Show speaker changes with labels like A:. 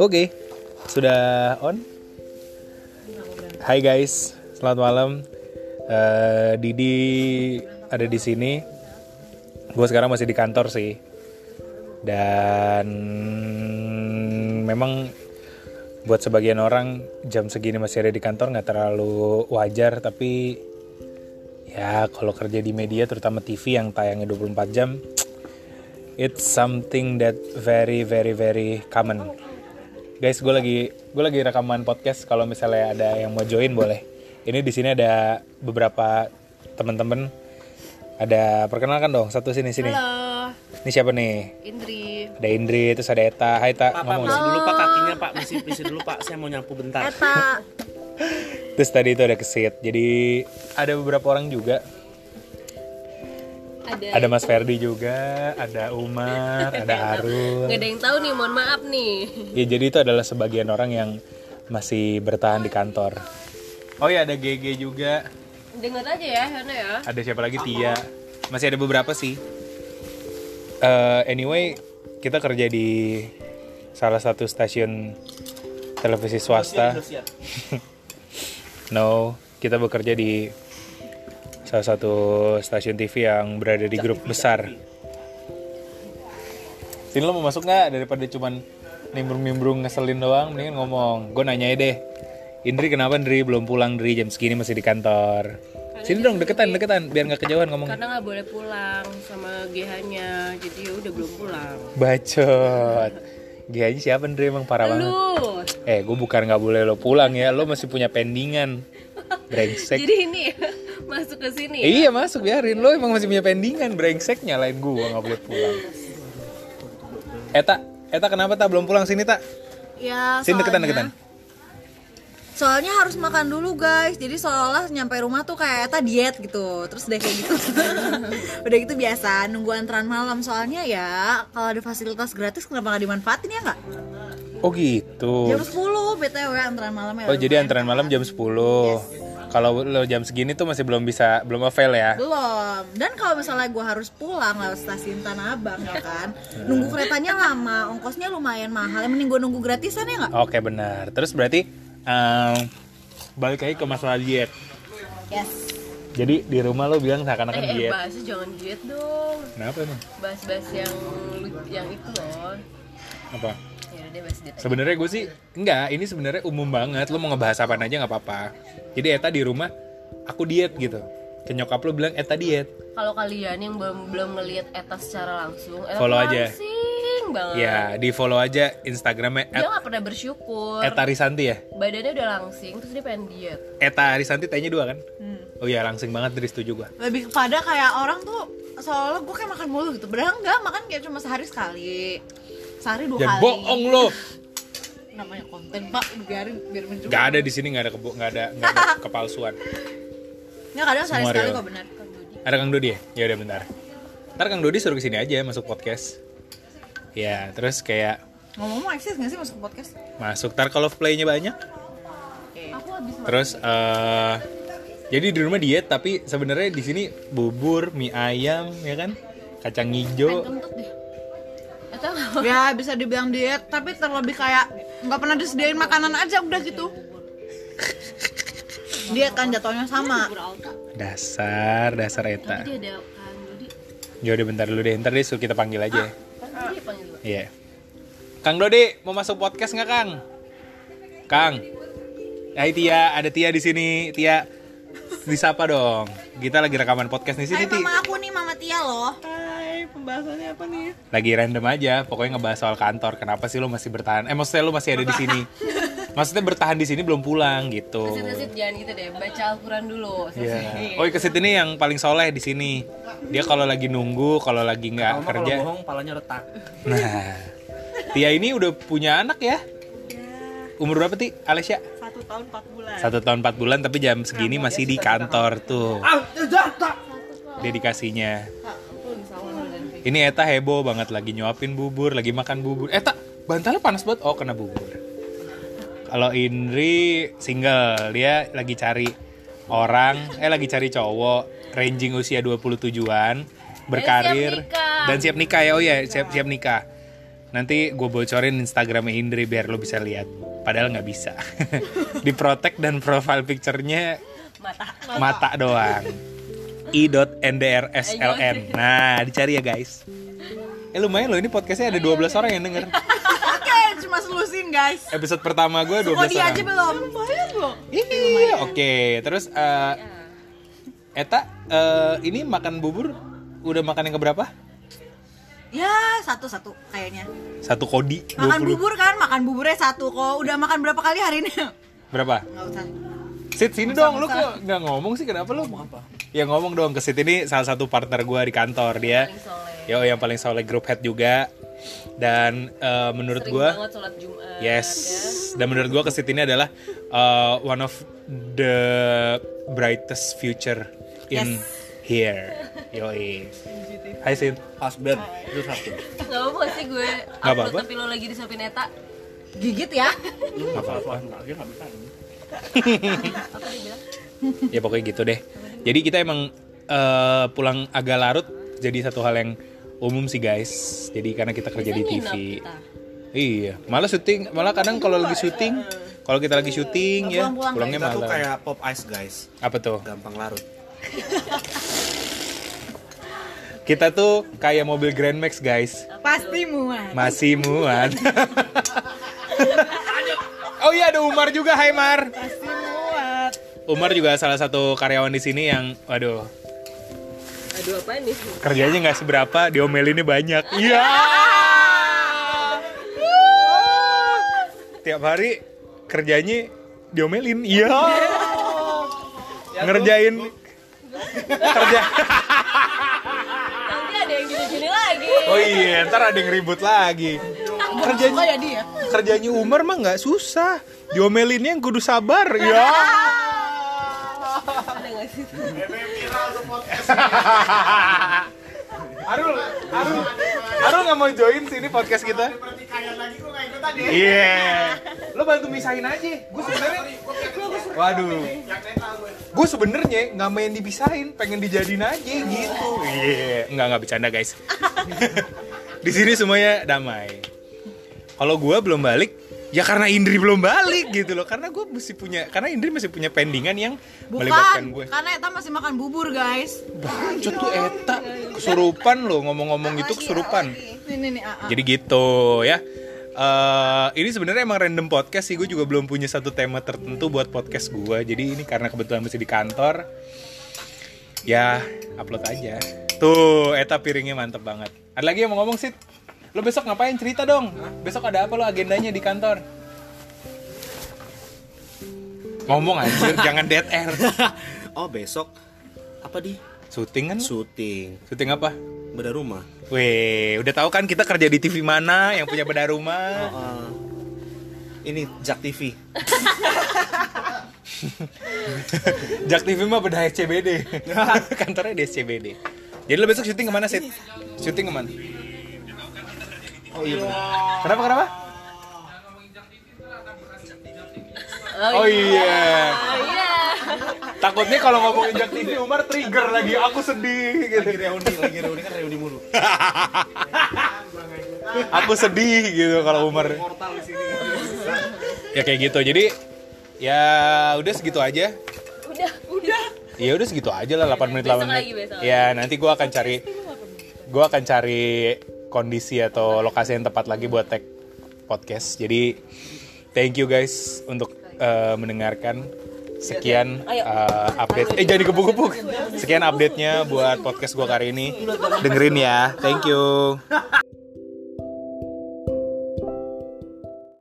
A: Oke, sudah on. Hai guys, selamat malam. Eh, Didi ada di sini. Gue sekarang masih di kantor sih. Dan memang buat sebagian orang jam segini masih ada di kantor nggak terlalu wajar, tapi ya kalau kerja di media terutama TV yang tayangnya 24 jam, it's something that very very very common guys gue lagi gue lagi rekaman podcast kalau misalnya ada yang mau join boleh ini di sini ada beberapa teman-teman ada perkenalkan dong satu sini sini
B: Halo,
A: ini siapa nih
B: Eh, Indri.
A: ada Indri terus ada Eta Hai Eta
C: Pak, Pak,
A: ngomong
C: misi dulu Pak kakinya Pak, misi misi dulu Pak, saya mau nyapu bentar.
B: Eta.
A: terus tadi itu ada Kesit jadi ada beberapa orang juga
B: Ada.
A: ada Mas Ferdi juga ada Umar ada Arun
B: Nggak ada yang tahu nih, mohon maaf nih.
A: Ya jadi itu adalah sebagian orang yang masih bertahan di kantor. Oh ya ada GG juga.
B: Dengar aja ya, Hana ya.
A: Ada siapa lagi Tia? Masih ada beberapa sih. Eh, anyway, kita kerja di salah satu stasiun televisi swasta.
C: Indosiar.
A: No, kita bekerja di salah satu stasiun TV yang berada di grup besar. Sini lo mau masuk nggak daripada cuman nimbrung-nimbrung ngeselin doang, mendingan ngomong. Gue nanya deh, Indri kenapa Indri belum pulang Indri jam segini masih di kantor? Sini dong deketan deketan biar nggak kejauhan ngomong.
B: Karena nggak boleh pulang sama GH-nya, jadi ya udah belum pulang.
A: Bacot. Dia aja siapa Indri emang parah banget.
B: Lu.
A: Eh, gue bukan nggak boleh lo pulang ya, lo masih punya pendingan. Brengsek.
B: Jadi ini ya, masuk ke sini.
A: Iya masuk biarin lo emang masih punya pendingan brengsek nyalain gua nggak boleh pulang. Eh, Eta, Eta kenapa tak belum pulang sini tak?
D: Ya,
A: Sini deketan
D: soalnya-
A: deketan.
D: Soalnya harus makan dulu guys, jadi seolah nyampe rumah tuh kayak Eta diet gitu Terus udah kayak gitu Udah gitu biasa, nunggu antrean malam Soalnya ya, kalau ada fasilitas gratis kenapa nggak dimanfaatin ya nggak?
A: Oh gitu.
D: Jam 10 BTW antrean ya. malamnya
A: Oh jadi antrean malam jam 10 Kalau lo jam segini tuh masih belum bisa belum avail ya?
D: Belum, dan kalau misalnya gue harus pulang lewat stasiun Tanah Abang ya kan Nunggu keretanya lama, ongkosnya lumayan mahal Yang mending gue nunggu gratisan ya nggak?
A: Oke benar. Terus berarti em, balik lagi ke masalah diet.
D: Yes
A: Jadi di rumah lo bilang seakan-akan
B: Eh, eh
A: Iya, diet.
B: bahasnya jangan diet dong.
A: Kenapa emang?
B: Bahas-bahas yang yang itu loh.
A: Apa?
B: Ya udah bahas diet. aja.
A: Sebenarnya gue sih enggak, ini sebenarnya umum banget. Lo mau ngebahas apa aja nggak apa-apa. Jadi Eta di rumah aku diet gitu. Ke nyokap lo bilang Eta diet.
B: Kalau kalian yang belum belum ngelihat Eta secara langsung, Eta
A: Follow aja.
B: langsing banget.
A: Ya, di follow aja Instagramnya et-
B: Dia nggak pernah bersyukur.
A: Eta Risanti ya.
B: Badannya udah langsing, terus dia pengen diet.
A: Eta Risanti tanya dua kan? Oh iya, langsing banget dari setuju gue.
D: lebih kepada kayak orang tuh seolah gue kayak makan mulu gitu padahal enggak makan kayak cuma sehari sekali sehari dua
A: Ya
D: kali
A: bohong lo.
D: namanya konten pak biarin biar mencukupi
A: Gak ada di sini nggak ada kebo, nggak ada nggak ada kepalsuan.
D: nggak kadang sehari
A: Semua
D: sekali
A: real.
D: kok benar
A: Ada Kang Dodi ya? Ya udah bentar. Ntar Kang Dodi suruh kesini aja masuk podcast. Ya, terus kayak
D: ngomong-ngomong eksis nggak sih masuk ke podcast
A: masuk. Ntar kalau playnya banyak,
B: Aku habis
A: Terus eh jadi di rumah diet tapi sebenarnya di sini bubur, mie ayam ya kan? Kacang
B: pengen
A: hijau.
B: kentut deh. Eta nggak
D: ya bisa dibilang diet tapi terlebih kayak nggak pernah disediain makanan aja udah gitu diet kan jatuhnya sama
A: Dasar, dasar eta.
B: dia ada kan jadi
A: Ya udah bentar dulu deh, ntar dia suruh kita panggil aja. ya.
B: kan dia panggil gua.
A: Iya. Kang Dodi mau masuk podcast nggak Kang? Kang. Hai Tia, ada Tia di sini. Tia disapa dong. Kita lagi rekaman podcast di sini,
D: Hai
A: Ti.
D: mama aku nih mama Tia loh
A: lagi random aja pokoknya ngebahas soal kantor kenapa sih lo masih bertahan eh maksudnya lo masih ada di sini maksudnya bertahan di sini belum pulang gitu
B: Kesit kesit jangan gitu deh baca Al-Quran dulu
A: Iya.
B: selesai.
A: Oh, kesit ini yang paling soleh di sini. Dia kalau lagi nunggu, kalau lagi nggak
C: Kalau mah kalau
A: kerja.
C: bohong palanya retak.
A: Nah, Tia ini udah punya anak ya? Umur berapa ti? Alesya?
D: satu tahun empat bulan
A: Satu tahun empat bulan, tapi jam segini masih di kantor tuh
C: Ah, jatah.
A: dedikasinya. Ini Eta heboh banget lagi nyuapin bubur, lagi makan bubur. Eh, Eta bantalnya panas banget, oh kena bubur. Kalau Indri single, dia lagi cari orang, eh lagi cari cowok, ranging usia 27-an, berkarir
B: Eh, siap nikah. Iya.
A: dan siap iya, nikah ya. Oh ya, siap siap nikah. Nanti gue bocorin Instagramnya Indri biar lo bisa lihat. Padahal nggak bisa. Di protect dan profile picture-nya mata, doang. i.ndrsln. Nah, dicari ya guys. Eh lumayan loh ini podcastnya ada 12 orang yang denger.
D: Oke, cuma selusin guys.
A: Episode pertama gue 12
D: Oh
A: orang.
D: dia aja belum.
A: Iya, oke. Terus eh, Eta eh, ini makan bubur udah makan yang keberapa?
D: Ya satu-satu kayaknya.
A: Satu kodi
D: Makan
A: 20.
D: bubur kan, makan buburnya satu kok. Udah makan berapa kali hari ini?
A: Berapa?
D: Nggak usah.
A: Sit sini dong, lu kok nggak ngomong sih kenapa lu? Apa? Ya ngomong dong ke Sit ini salah satu partner gua di kantor dia. Yo yang paling soleh group head juga. Dan eh, menurut
E: Sering
A: gua
E: banget sholat Jumat.
A: Yes. Dan menurut gue kesit ini adalah uh, one of the brightest future in here. Yoi. Hai Sin.
C: Husband itu satu.
E: Gak apa Eh, sih gue
A: Nggak
E: upload
A: apa-apa.
E: tapi lo lagi disuapin Eta
D: Gigit ya.
C: Lu nggak apa-apa lagi nggak bisa.
A: Ya pokoknya gitu deh. Jadi kita emang uh, pulang agak larut jadi satu hal yang umum sih guys. Jadi karena kita kerja di TV.
E: kita.
A: Iya, malah syuting, malah kadang kalau lagi syuting, kalau kita lagi syuting ya
D: Pulang-pulang
A: pulangnya
C: Kita tuh
A: malah.
C: kayak pop ice guys,
A: Apa tuh?
C: gampang larut.
A: Kita tuh kayak mobil Grand Max guys.
D: Pasti muat.
A: Masih muat. oh iya ada Umar juga, Hai Mar.
D: Pasti muat.
A: Umar juga salah satu karyawan di sini yang, waduh,
E: Aduh apa nih
A: kerjanya nggak seberapa, diomelinnya banyak. Iya. Tiap hari kerjanya diomelin. Iya.
E: Ya
A: Ngerjain kerja.
E: Nanti ada yang gini-gini lagi
A: Oh iya, ntar ada yang ribut lagi. Kerjanya
D: Oh ya dia.
A: kerjanya Umar mah nggak susah diomelinnya yang kudu sabar ya Arul, Arul, Arul nggak mau join sini podcast kita? Iya. Lo bantu misahin aja. Gue sebenarnya, waduh. Gue sebenarnya nggak main dipisahin, pengen dijadiin aja gitu. Iya, nggak nggak bercanda guys. Di sini semuanya damai kalau gue belum balik ya karena Indri belum balik gitu loh karena gue masih punya karena Indri masih punya pendingan yang melibatkan
D: Bukan,
A: gue
D: karena Eta masih makan bubur guys.
A: bacot tuh Eta kesurupan loh ngomong-ngomong gitu kesurupan
D: Ini ah, nih, AA.
A: jadi gitu ya Eh, ini sebenarnya emang random podcast sih gue juga belum punya satu tema tertentu buat podcast gue jadi ini karena kebetulan masih di kantor ya upload aja tuh Eta piringnya mantep banget ada lagi yang mau ngomong sih lo besok ngapain cerita dong besok ada apa lo agendanya di kantor ngomong anjir jangan dead air
C: oh besok apa di?
A: syuting kan lo?
C: Syuting
A: syuting apa
C: beda rumah.
A: Weh, udah tahu kan kita kerja di TV mana yang punya beda rumah
C: Eh, ini Jak TV.
A: Jak TV mah beda SCBD Kantornya di SCBD Jadi lo besok syuting kemana sih? Syuting kemana?
C: Oh iya. benar.
A: Kenapa kenapa? Oh iya
E: Oh iya
A: Takutnya kalau ngomongin Jak TV Umar trigger lagi Aku sedih gitu
C: Lagi reuni, lagi reuni kan reuni mulu.
A: Aku sedih gitu kalau Umar
C: Portal di sini.
A: Ya kayak gitu Jadi ya udah segitu aja
E: Udah Udah
A: Ya udah segitu aja lah 8 menit 8
E: Besok
A: menit.
E: lagi, besok lagi.
A: Ya nanti gua akan cari gua akan cari kondisi atau lokasi yang tepat lagi buat tag podcast. Jadi thank you guys untuk eh, mendengarkan. Sekian eh, update. Eh jadi gebuk-gebuk. Sekian update-nya buat podcast gua kali ini. Dengerin ya. Thank you.